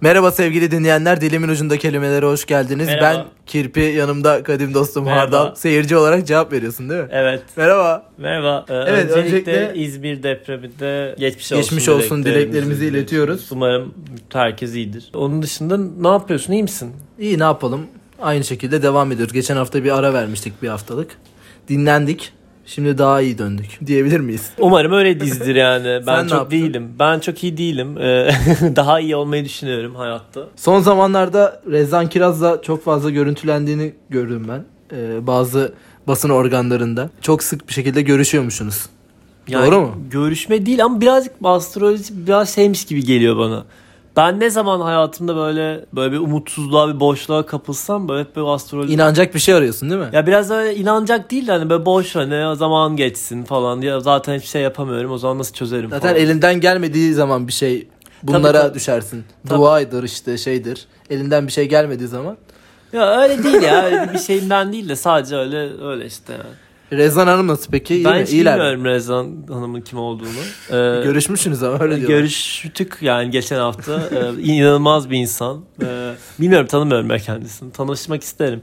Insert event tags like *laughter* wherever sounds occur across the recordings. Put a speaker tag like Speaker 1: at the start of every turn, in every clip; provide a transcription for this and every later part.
Speaker 1: Merhaba sevgili dinleyenler. Dilimin ucunda kelimelere hoş geldiniz.
Speaker 2: Merhaba.
Speaker 1: Ben Kirpi, yanımda kadim dostum
Speaker 2: Merhaba.
Speaker 1: Hardal. Seyirci olarak cevap veriyorsun değil mi?
Speaker 2: Evet.
Speaker 1: Merhaba.
Speaker 2: Merhaba. Ee,
Speaker 1: Evet,
Speaker 2: öncelikle,
Speaker 1: öncelikle-
Speaker 2: İzmir depreminde geçmiş,
Speaker 1: Geçmiş
Speaker 2: olsun,
Speaker 1: olsun
Speaker 2: dileklerimizi
Speaker 1: dileklerimizi iletiyoruz.
Speaker 2: Umarım herkes iyidir. Onun dışında ne yapıyorsun? İyi misin?
Speaker 1: İyi ne yapalım? Aynı şekilde devam ediyoruz. Geçen hafta bir ara vermiştik bir haftalık. Dinlendik. Şimdi daha iyi döndük diyebilir miyiz?
Speaker 2: Umarım öyle dizdir yani.
Speaker 1: *laughs* Sen
Speaker 2: Ben
Speaker 1: ne
Speaker 2: çok
Speaker 1: yaptın?
Speaker 2: değilim. Ben çok iyi değilim. Ee, *laughs* Daha iyi olmayı düşünüyorum hayatta.
Speaker 1: Son zamanlarda Rezan Kiraz'la çok fazla görüntülendiğini gördüm ben. Ee, bazı basın organlarında. Çok sık bir şekilde görüşüyormuşsunuz. Doğru mu?
Speaker 2: Görüşme değil ama birazcık astroloji biraz şeymiş gibi geliyor bana. Ben ne zaman hayatımda böyle böyle bir umutsuzluğa bir boşluğa kapılsam böyle hep böyle astroloji
Speaker 1: İnanacak bir şey arıyorsun değil mi?
Speaker 2: *laughs* Ya biraz öyle inanacak değil de hani böyle boş hani zaman geçsin falan ya zaten hiçbir şey yapamıyorum o zaman nasıl çözerim
Speaker 1: Zaten
Speaker 2: falan.
Speaker 1: elinden gelmediği zaman bir şey bunlara
Speaker 2: tabii.
Speaker 1: düşersin.
Speaker 2: Tabii.
Speaker 1: Duaydır işte şeydir. Elinden bir şey gelmediği zaman.
Speaker 2: Ya öyle değil ya öyle bir şeyimden değil de sadece öyle öyle işte. yani.
Speaker 1: Rezan Hanım nasıl peki? İyi
Speaker 2: ben
Speaker 1: mi?
Speaker 2: hiç
Speaker 1: İyiler mi?
Speaker 2: bilmiyorum Rezan Hanım'ın kim olduğunu. Ee,
Speaker 1: Görüşmüşsünüz ama öyle diyorlar.
Speaker 2: görüştük yani geçen hafta. Ee, inanılmaz bir insan. Ee, bilmiyorum tanımıyorum ben kendisini. Tanışmak isterim.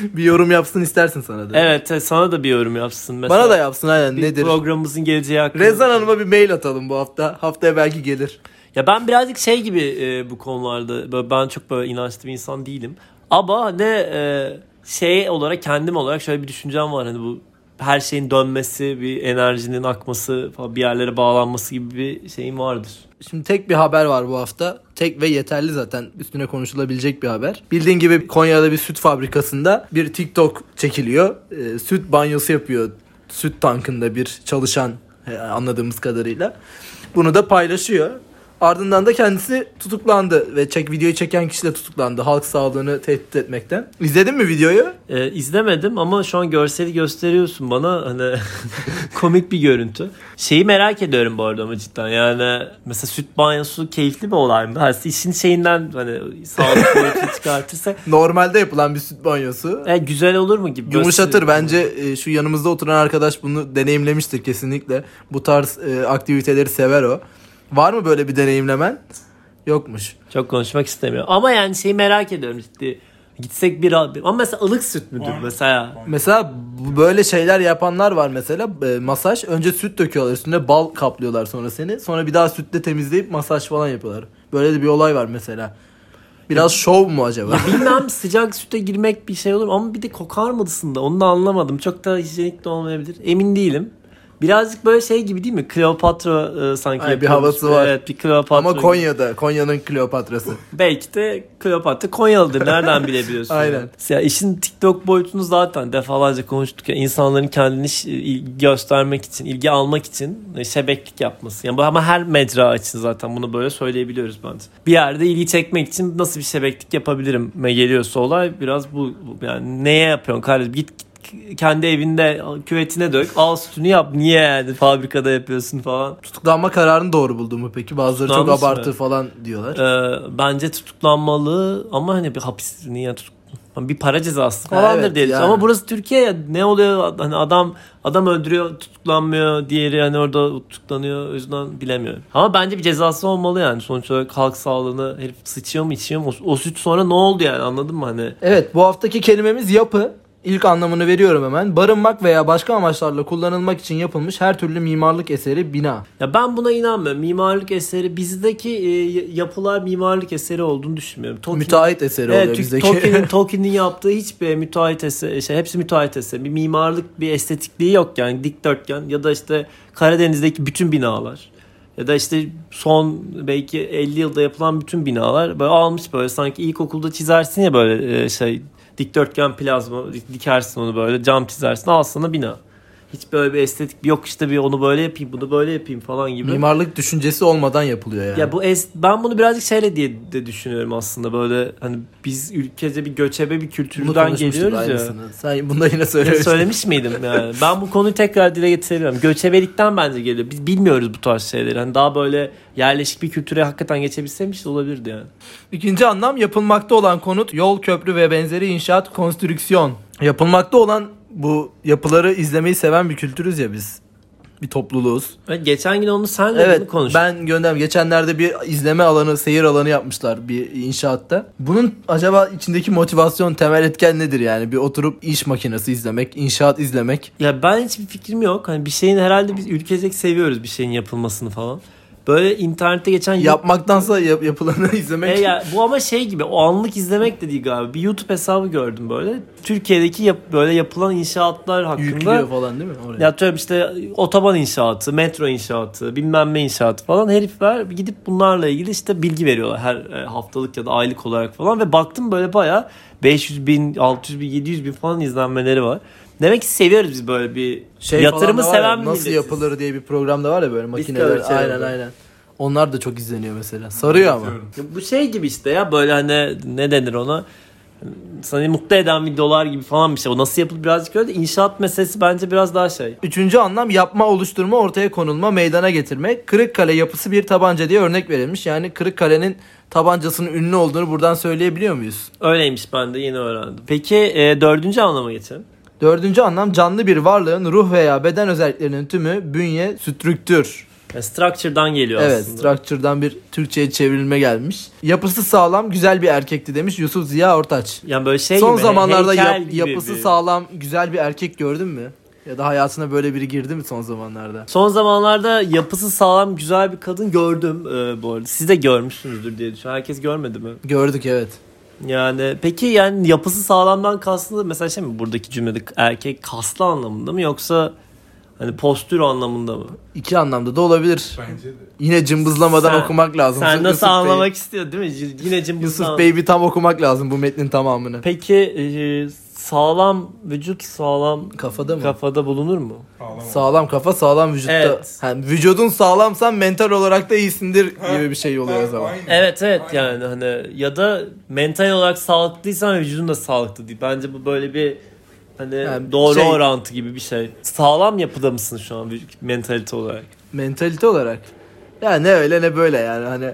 Speaker 1: bir yorum yapsın istersin sana da.
Speaker 2: Evet evet, sana da bir yorum yapsın mesela.
Speaker 1: Bana da yapsın aynen
Speaker 2: Bir
Speaker 1: nedir?
Speaker 2: Programımızın geleceği hakkında.
Speaker 1: Rezan Hanım'a bir mail atalım bu hafta. Haftaya belki gelir.
Speaker 2: Ya ben birazcık şey gibi e, bu konularda böyle ben çok böyle inançlı bir insan değilim. Ama ne şey olarak kendim olarak şöyle bir düşüncem var hani bu her şeyin dönmesi, bir enerjinin akması falan bir yerlere bağlanması gibi bir şeyim vardır.
Speaker 1: Şimdi tek bir haber var bu hafta. Tek ve yeterli zaten üstüne konuşulabilecek bir haber. Bildiğin gibi Konya'da bir süt fabrikasında bir TikTok çekiliyor. Ee, süt banyosu yapıyor süt tankında bir çalışan e, anladığımız kadarıyla. Bunu da paylaşıyor. Ardından da kendisi tutuklandı ve çek videoyu çeken kişi de tutuklandı halk sağlığını tehdit etmekten. İzledin mi videoyu?
Speaker 2: E, izlemedim ama şu an görseli gösteriyorsun bana hani *laughs* komik bir görüntü. Şeyi merak ediyorum bu arada ama cidden yani mesela süt banyosu keyifli bir olay mı? Hani işin şeyinden hani
Speaker 1: *laughs*
Speaker 2: sağlık boyutunu çıkartırsa
Speaker 1: Normalde yapılan bir süt banyosu.
Speaker 2: E, güzel olur mu gibi.
Speaker 1: Yumuşatır
Speaker 2: Gösteriyor.
Speaker 1: bence e, şu yanımızda oturan arkadaş bunu deneyimlemiştir kesinlikle. Bu tarz e, aktiviteleri sever o. Var mı böyle bir deneyimlemen? Yokmuş.
Speaker 2: Çok konuşmak istemiyor. Ama yani şeyi merak ediyorum ciddi. Gitsek bir abi. Ama mesela ılık süt müdür mesela?
Speaker 1: Mesela bu- böyle şeyler yapanlar var mesela e, masaj. Önce süt döküyorlar üstüne bal kaplıyorlar sonra seni. Sonra bir daha sütle temizleyip masaj falan yapıyorlar. Böyle de bir olay var mesela. Biraz şov mu acaba?
Speaker 2: Bilmem sıcak süte girmek bir şey olur mu? ama bir de kokar mısın da onu da anlamadım. Çok da hijyenik de olmayabilir. Emin değilim. Birazcık böyle şey gibi değil mi? Kleopatra e, sanki.
Speaker 1: Ay, bir
Speaker 2: yapıyormuş.
Speaker 1: havası var.
Speaker 2: Evet bir
Speaker 1: *laughs*
Speaker 2: Kleopatra.
Speaker 1: Ama
Speaker 2: gibi.
Speaker 1: Konya'da. Konya'nın Kleopatrası.
Speaker 2: Belki de Kleopatra Konyalı'dır. Nereden bilebiliyorsun?
Speaker 1: Aynen.
Speaker 2: yani? Ya işin TikTok boyutunu zaten defalarca konuştuk. Ya, insanların kendini ş- il- göstermek için, ilgi almak için e, şebeklik yapması. Yani bu ama her mecra için zaten bunu böyle söyleyebiliyoruz bence. Bir yerde ilgi çekmek için nasıl bir şebeklik yapabilirim me geliyorsa olay biraz bu. bu. Yani neye yapıyorsun kardeşim? Git, git kendi evinde küvetine dök. Al sütünü yap. Niye yani fabrikada yapıyorsun falan.
Speaker 1: Tutuklanma kararını doğru buldu mu peki? Bazıları çok
Speaker 2: Tutuklanmış mı?
Speaker 1: abartı falan diyorlar.
Speaker 2: Ee, bence tutuklanmalı ama hani bir hapis niye tutuk bir para cezası falandır
Speaker 1: evet,
Speaker 2: diye düşünüyorum.
Speaker 1: yani.
Speaker 2: ama burası Türkiye ya ne oluyor hani adam adam öldürüyor tutuklanmıyor diğeri hani orada tutuklanıyor o yüzden bilemiyorum ama bence bir cezası olmalı yani sonuç olarak halk sağlığını herif sıçıyor mu içiyor mu o, o süt sonra ne oldu yani anladın mı hani
Speaker 1: Evet bu haftaki kelimemiz yapı. İlk anlamını veriyorum hemen. Barınmak veya başka amaçlarla kullanılmak için yapılmış her türlü mimarlık eseri bina.
Speaker 2: ya ben buna inanmıyorum mimarlık eseri bizdeki e, y- yapılar mimarlık eseri olduğunu düşünmüyorum Tokyo-
Speaker 1: Müteahhit eseri
Speaker 2: Evet,
Speaker 1: oluyor
Speaker 2: Türk-
Speaker 1: bizdeki. *laughs*
Speaker 2: Tolkien'in, Tolkien'in yaptığı hiçbir müteahhit eser, şey, hepsi müteahhit eser. Bir mimarlık, bir estetikliği yok yani dikdörtgen ya da işte Karadeniz'deki bütün binalar ya da işte son belki 50 yılda yapılan bütün binalar böyle almış böyle sanki ilkokulda çizersin ya böyle e, şey dikdörtgen plazma dikersin onu böyle cam çizersin al sana bina. Hiç böyle bir estetik yok işte bir onu böyle yapayım bunu böyle yapayım falan gibi.
Speaker 1: Mimarlık düşüncesi olmadan yapılıyor yani.
Speaker 2: Ya bu es ben bunu birazcık şeyle diye de düşünüyorum aslında böyle hani biz ülkece bir göçebe bir
Speaker 1: Bunu
Speaker 2: kültürden
Speaker 1: konuşmuştuk
Speaker 2: geliyoruz ya.
Speaker 1: aynısını. Sen bunu da yine
Speaker 2: Ya
Speaker 1: söylemiştin.
Speaker 2: söylemiş miydim yani? Ben bu konuyu tekrar dile getiriyorum. Göçebelikten bence geliyor. Biz bilmiyoruz bu tarz şeyleri. Hani daha böyle yerleşik bir kültüre hakikaten geçebilseymiş olabilirdi yani.
Speaker 1: İkinci anlam yapılmakta olan konut, yol, köprü ve benzeri inşaat, konstrüksiyon. Yapılmakta olan bu yapıları izlemeyi seven bir kültürüz ya biz. bir topluluğuz.
Speaker 2: Evet, geçen gün onu senle bunu
Speaker 1: Evet
Speaker 2: konuştuk.
Speaker 1: ben gönderdim. Geçenlerde bir izleme alanı, seyir alanı yapmışlar bir inşaatta. Bunun acaba içindeki motivasyon, temel etken nedir yani? Bir oturup iş makinesi izlemek, inşaat izlemek.
Speaker 2: Ya ben hiçbir fikrim yok. Hani bir şeyin herhalde biz ülkecek seviyoruz bir şeyin yapılmasını falan. Böyle internette geçen
Speaker 1: Yapmaktansa yap- yapılanı *laughs* izlemek.
Speaker 2: E ya, bu ama şey gibi o anlık izlemek de değil galiba. Bir YouTube hesabı gördüm böyle. Türkiye'deki yap- böyle yapılan inşaatlar hakkında.
Speaker 1: Yüklüyor falan değil mi? Oraya.
Speaker 2: Ya atıyorum işte otoban inşaatı, metro inşaatı, bilmem ne inşaatı falan herifler gidip bunlarla ilgili işte bilgi veriyorlar her e, haftalık ya da aylık olarak falan ve baktım böyle baya 500 bin, 600 bin, 700 bin falan izlenmeleri var. Demek ki seviyoruz biz böyle bir
Speaker 1: Şey
Speaker 2: yatırımı
Speaker 1: falan da var ya,
Speaker 2: seven
Speaker 1: Nasıl
Speaker 2: milletiz.
Speaker 1: yapılır diye bir program da var ya böyle makineler.
Speaker 2: Discovery Channel'da.
Speaker 1: Aynen aynen. Onlar da çok izleniyor mesela. Sarıyor ama.
Speaker 2: Ya Bu şey gibi işte ya böyle hani ne denir ona? Seni mutlu eden bir dolar gibi falan bir şey. O nasıl yapılır birazcık öyle de inşaat meselesi bence biraz daha şey.
Speaker 1: Üçüncü anlam yapma, oluşturma, ortaya konulma, meydana getirmek. Kırıkkale yapısı bir tabanca diye örnek verilmiş. Yani Kırıkkale'nin tabancasının ünlü olduğunu buradan söyleyebiliyor muyuz?
Speaker 2: Öyleymiş ben de yeni öğrendim. Peki e, dördüncü anlama geçelim.
Speaker 1: Dördüncü anlam canlı bir varlığın ruh veya beden özelliklerinin tümü bünye, strüktür.
Speaker 2: Yani structure'dan geliyor
Speaker 1: Evet,
Speaker 2: aslında.
Speaker 1: structure'dan bir Türkçe'ye çevrilme gelmiş. Yapısı sağlam, güzel bir erkekti demiş Yusuf Ziya Ortaç.
Speaker 2: yani böyle şey
Speaker 1: Son
Speaker 2: gibi,
Speaker 1: zamanlarda
Speaker 2: heykel
Speaker 1: yap-
Speaker 2: gibi
Speaker 1: yapısı
Speaker 2: bir-
Speaker 1: sağlam, güzel bir erkek gördün mü? Ya da hayatına böyle biri girdi mi son zamanlarda?
Speaker 2: Son zamanlarda yapısı sağlam güzel bir kadın gördüm e, bu arada. Siz de görmüşsünüzdür diye düşünüyorum. Herkes görmedi mi?
Speaker 1: Gördük evet.
Speaker 2: Yani peki yani yapısı sağlamdan kastı mesela şey mi buradaki cümlede erkek kaslı anlamında mı yoksa hani postür anlamında mı?
Speaker 1: İki anlamda da olabilir.
Speaker 3: Bence de.
Speaker 1: Yine cımbızlamadan
Speaker 2: Sen-
Speaker 1: okumak lazım.
Speaker 2: Sen nasıl
Speaker 1: Yusuf Bey-
Speaker 2: anlamak istiyor değil mi? Y- Yine cımbızla
Speaker 1: Yusuf
Speaker 2: anlam-
Speaker 1: Bey bir tam okumak lazım bu metnin tamamını.
Speaker 2: Peki e, sağlam vücut sağlam
Speaker 1: Kafada mı?
Speaker 2: kafada bulunur mu?
Speaker 3: Sağlam.
Speaker 1: Sağlam kafa sağlam vücutta.
Speaker 2: Evet.
Speaker 1: Ha, vücudun sağlamsan mental olarak da iyisindir gibi bir şey oluyor o zaman.
Speaker 2: Evet evet
Speaker 3: yani.
Speaker 2: yani hani ya da mental olarak sağlıklıysan vücudun da sağlıklı değil. Bence bu böyle bir hani
Speaker 1: Yani
Speaker 2: doğru
Speaker 1: şey-
Speaker 2: orantı gibi bir şey. Sağlam yapıda mısın şu an vücut- mentalite olarak?
Speaker 1: Mentalite olarak. Ya ne öyle ne böyle yani hani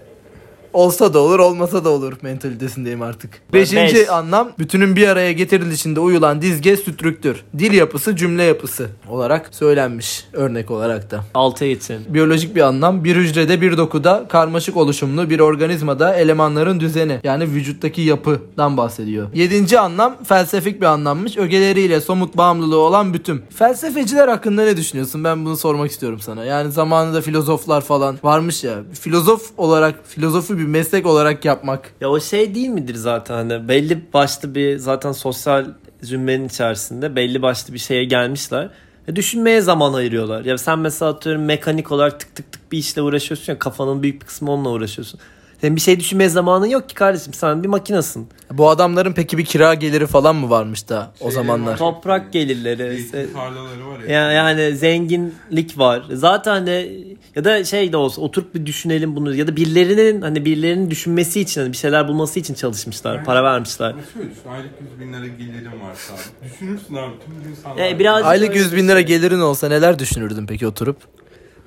Speaker 1: olsa da olur olmasa da olur mentalitesindeyim artık. Beşinci
Speaker 2: Beş.
Speaker 1: anlam bütünün bir araya getirilişinde uyulan dizge strüktür. Dil yapısı cümle yapısı olarak söylenmiş örnek olarak da.
Speaker 2: 6'ya geçelim.
Speaker 1: Biyolojik bir anlam bir hücrede bir dokuda karmaşık oluşumlu bir organizmada elemanların düzeni yani vücuttaki yapıdan bahsediyor. Yedinci anlam felsefik bir anlammış ögeleriyle somut bağımlılığı olan bütün. Felsefeciler hakkında ne düşünüyorsun ben bunu sormak istiyorum sana. Yani zamanında filozoflar falan varmış ya filozof olarak filozofu bir meslek olarak yapmak.
Speaker 2: Ya o şey değil midir zaten hani belli başlı bir zaten sosyal zümrenin içerisinde belli başlı bir şeye gelmişler. E düşünmeye zaman ayırıyorlar. Ya sen mesela atıyorum mekanik olarak tık tık tık bir işle uğraşıyorsun ya kafanın büyük bir kısmı onunla uğraşıyorsun. Senin bir şey düşünmeye zamanın yok ki kardeşim sen bir makinasın.
Speaker 1: Bu adamların peki bir kira geliri falan mı varmış da o
Speaker 3: Şey,
Speaker 1: zamanlar?
Speaker 2: Toprak gelirleri. işte-
Speaker 3: Zeytin tarlaları var ya.
Speaker 2: Ya- yani zenginlik var. Zaten hani ya da şey de olsa oturup bir düşünelim bunu ya da birilerinin hani birilerinin düşünmesi için hani bir şeyler bulması için çalışmışlar,
Speaker 3: Evet.
Speaker 2: para vermişler.
Speaker 3: Ama şöyle düşün aylık 100 bin lira gelirim varsa abi. Düşünürsün abi tüm gün sana.
Speaker 2: E, biraz-
Speaker 1: Aylık 100 bin lira gelirin olsa neler düşünürdün peki oturup?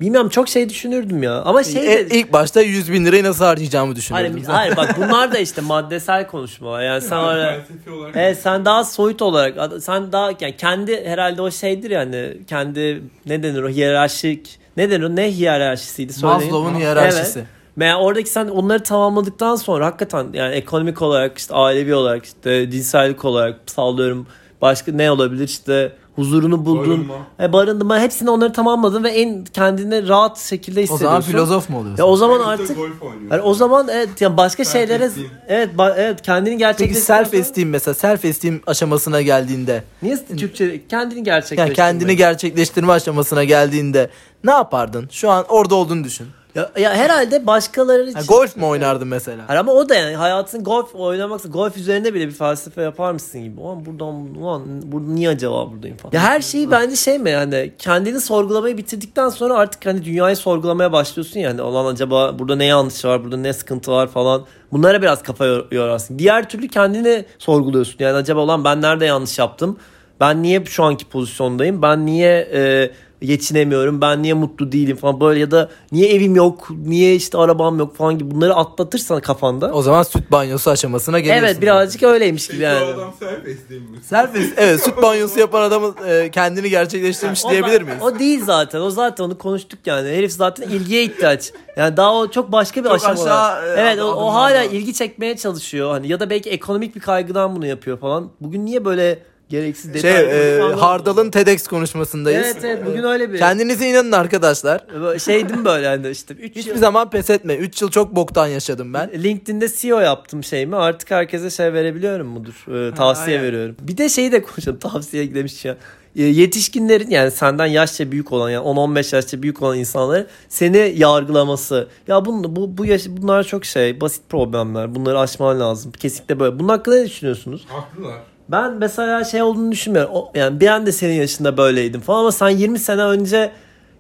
Speaker 2: Bilmiyorum çok şey düşünürdüm ya. Ama şey
Speaker 1: E,
Speaker 2: de...
Speaker 1: ilk başta 100 bin lirayı nasıl harcayacağımı düşünürdüm.
Speaker 2: Hayır, *laughs* hayır bak bunlar da işte maddesel konuşmalar. Yani sen
Speaker 3: Yani
Speaker 2: öyle...
Speaker 3: felsefi olarak.
Speaker 2: Evet sen daha soyut olarak ad- sen daha yani kendi herhalde o şeydir yani kendi ne denir o hiyerarşik ne denir o ne hiyerarşisiydi söyleyin.
Speaker 1: Maslow'un hiyerarşisi.
Speaker 2: Evet. Yani oradaki sen onları tamamladıktan sonra hakikaten yani ekonomik olarak işte ailevi olarak işte cinsellik olarak sallıyorum başka ne olabilir işte huzurunu buldun.
Speaker 3: Barınma.
Speaker 2: E, barındırma hepsini onları tamamladın ve en kendini rahat şekilde
Speaker 1: O
Speaker 2: hissediyorsun.
Speaker 1: zaman filozof mu oluyorsun?
Speaker 2: Ya o zaman
Speaker 3: Sen işte
Speaker 2: artık
Speaker 3: golf oynuyorsun.
Speaker 2: yani Hani o zaman evet yani başka
Speaker 3: Self
Speaker 2: şeylere
Speaker 3: esteem.
Speaker 2: evet ba- evet kendini
Speaker 1: Peki
Speaker 2: gerçekleştirirsen
Speaker 1: self esteem mesela self esteem aşamasına geldiğinde
Speaker 2: niye Türkçe kendini
Speaker 1: yani
Speaker 2: gerçekleştirmek?
Speaker 1: kendini gerçekleştirme aşamasına geldiğinde ne yapardın? Şu an orada olduğunu düşün.
Speaker 2: ya, ya herhalde başkaları için.
Speaker 1: Ha, golf mu oynardın mesela?
Speaker 2: Hayır ama o da yani hayatın golf oynamaksa golf üzerinde bile bir felsefe yapar mısın gibi. Ulan buradan ulan burada niye acaba buradayım falan. Ya her şeyi bence şey mi yani kendini sorgulamayı bitirdikten sonra artık hani dünyayı sorgulamaya başlıyorsun yani. Ulan acaba burada ne yanlış var burada ne sıkıntı var falan. Bunlara biraz kafa yor- yorarsın. Diğer türlü kendini sorguluyorsun. Yani acaba ulan ben nerede yanlış yaptım? Ben niye şu anki pozisyondayım? Ben niye e, geçinemiyorum ben niye mutlu değilim falan böyle ya da niye evim yok niye işte arabam yok falan gibi bunları atlatırsan kafanda.
Speaker 1: O zaman süt banyosu aşamasına geliyorsun.
Speaker 2: Evet birazcık öyleymiş gibi
Speaker 3: Peki o
Speaker 2: yani.
Speaker 3: adam serbest değil mi?
Speaker 1: Serbest. Evet süt banyosu yapan adamın e, kendini gerçekleştirmiş diyebilir miyiz?
Speaker 2: O değil zaten. O zaten onu konuştuk yani. Herif zaten ilgiye ihtiyaç. Yani daha o çok başka bir
Speaker 1: Çok
Speaker 2: aşama.
Speaker 1: aşağı, e,
Speaker 2: evet o,
Speaker 1: adım-
Speaker 2: o hala
Speaker 1: adım-
Speaker 2: ilgi çekmeye çalışıyor. Hani ya da belki ekonomik bir kaygıdan bunu yapıyor falan. Bugün niye böyle gereksiz
Speaker 1: Şey
Speaker 2: detaylı
Speaker 1: e,
Speaker 2: konuşmalar
Speaker 1: Hardal'ın
Speaker 2: oluyor?
Speaker 1: TEDx konuşmasındayız.
Speaker 2: Evet evet bugün öyle bir.
Speaker 1: Kendinize inanın arkadaşlar.
Speaker 2: Böyle Şeydim böyle hani işte 3
Speaker 1: Hiçbir
Speaker 2: yıl
Speaker 1: zaman pes etme. 3 yıl çok boktan yaşadım ben.
Speaker 2: LinkedIn'de CEO yaptım şeyimi. Artık herkese şey verebiliyorum mudur? Ee, tavsiye
Speaker 1: aynen.
Speaker 2: veriyorum. Bir de şeyi de konuşalım. *laughs* Tavsiye demiş ya. Ee, Yetişkinlerin yani senden yaşça büyük olan yani 10-15 yaşça büyük olan insanların seni yargılaması. Ya bunu, bu, bu yaş- bunlar çok şey basit problemler. Bunları aşman lazım. Kesinlikle böyle. Bunun hakkında ne düşünüyorsunuz?
Speaker 3: Haklılar.
Speaker 2: Ben mesela şey olduğunu düşünmüyorum. O, yani bir an de senin yaşında böyleydim falan ama sen 20 sene önce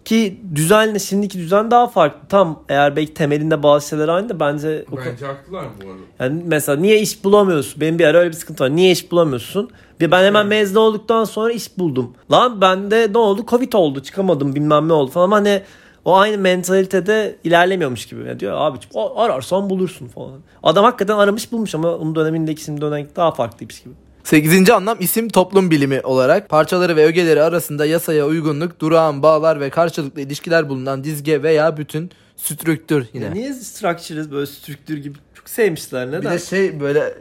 Speaker 2: ki düzenle şimdiki düzen daha farklı. Tam eğer belki temelinde bazı şeyler aynı da bence o-
Speaker 3: Bence haklılar bu arada.
Speaker 2: yani mesela niye iş bulamıyorsun? Benim bir ara öyle bir sıkıntı var. Niye iş bulamıyorsun? Bir ben hemen mezun olduktan sonra iş buldum. Lan bende ne oldu? Covid oldu. Çıkamadım bilmem ne oldu falan. Ama Hani o aynı mentalitede ilerlemiyormuş gibi. Yani diyor abi o- ararsan bulursun falan. Adam hakikaten aramış bulmuş ama onun dönemindeki şimdi dönemindeki daha farklıymış gibi.
Speaker 1: 8. anlam isim toplum bilimi olarak parçaları ve ögeleri arasında yasaya uygunluk, durağan bağlar ve karşılıklı ilişkiler bulunan dizge veya bütün strüktür yine.
Speaker 2: Ya Niye structures böyle strüktür gibi çok sevmişler
Speaker 1: Bir
Speaker 2: neden?
Speaker 1: de şey böyle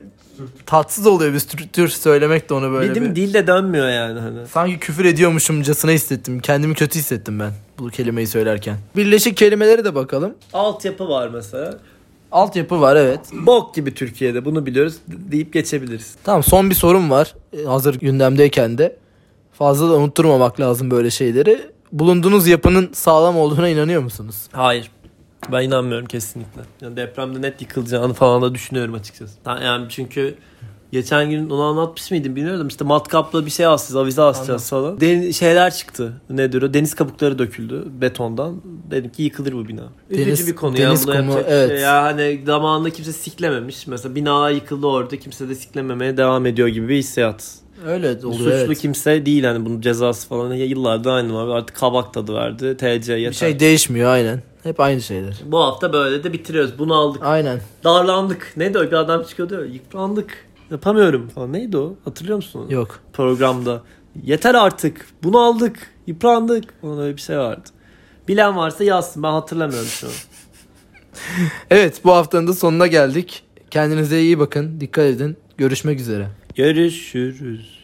Speaker 1: tatsız oluyor bir strüktür söylemek de onu böyle
Speaker 2: Bildim
Speaker 1: bir.
Speaker 2: dil de dönmüyor yani hani.
Speaker 1: Sanki küfür ediyormuşumcasına hissettim. Kendimi kötü hissettim ben bu kelimeyi söylerken. Birleşik kelimelere de bakalım.
Speaker 2: Altyapı var mesela.
Speaker 1: Altyapı var evet.
Speaker 2: Bok gibi Türkiye'de bunu biliyoruz de- deyip geçebiliriz.
Speaker 1: Tamam son bir sorum var. E, Hazır gündemdeyken de. Fazla da unutturmamak lazım böyle şeyleri. Bulunduğunuz yapının sağlam olduğuna inanıyor musunuz?
Speaker 2: Hayır. Ben inanmıyorum kesinlikle. Yani depremde net yıkılacağını falan da düşünüyorum açıkçası. Ha- Yani çünkü geçen gün onu anlatmış mıydım bilmiyorum. İşte matkapla bir şey asacağız, avize asacağız falan. Den- şeyler çıktı. Nedir o? Deniz kabukları döküldü betondan. Dedim ki yıkılır bu bina. Üzücü
Speaker 1: Deniz-
Speaker 2: bir konu
Speaker 1: deniz
Speaker 2: ya. Buna
Speaker 1: kumu,
Speaker 2: yapacak bir
Speaker 1: evet.
Speaker 2: şey. Ya hani zamanında kimse siklememiş. Mesela bina yıkıldı orada. Kimse de siklememeye devam ediyor gibi bir hissiyat.
Speaker 1: Öyle oluyor
Speaker 2: Suçlu
Speaker 1: evet.
Speaker 2: kimse değil hani bunun cezası falan. Ya yıllarda aynı var. Artık kabak tadı verdi. TC yeter.
Speaker 1: Bir şey değişmiyor aynen. Hep aynı şeyler.
Speaker 2: Bu hafta böyle de bitiriyoruz. Bunu aldık.
Speaker 1: Aynen.
Speaker 2: Darlandık. Neydi o? Bir adam çıkıyordu. ya, Yıprandık. Yapamıyorum falan. Neydi o? Hatırlıyor musun onu?
Speaker 1: Yok.
Speaker 2: Programda. Yeter artık. Bunu aldık. Yıprandık. Onun öyle bir şey vardı. Bilen varsa yazsın. Ben hatırlamıyorum şu an.
Speaker 1: Evet bu haftanın da sonuna geldik. Kendinize iyi bakın. Dikkat edin. Görüşmek üzere.
Speaker 2: Görüşürüz.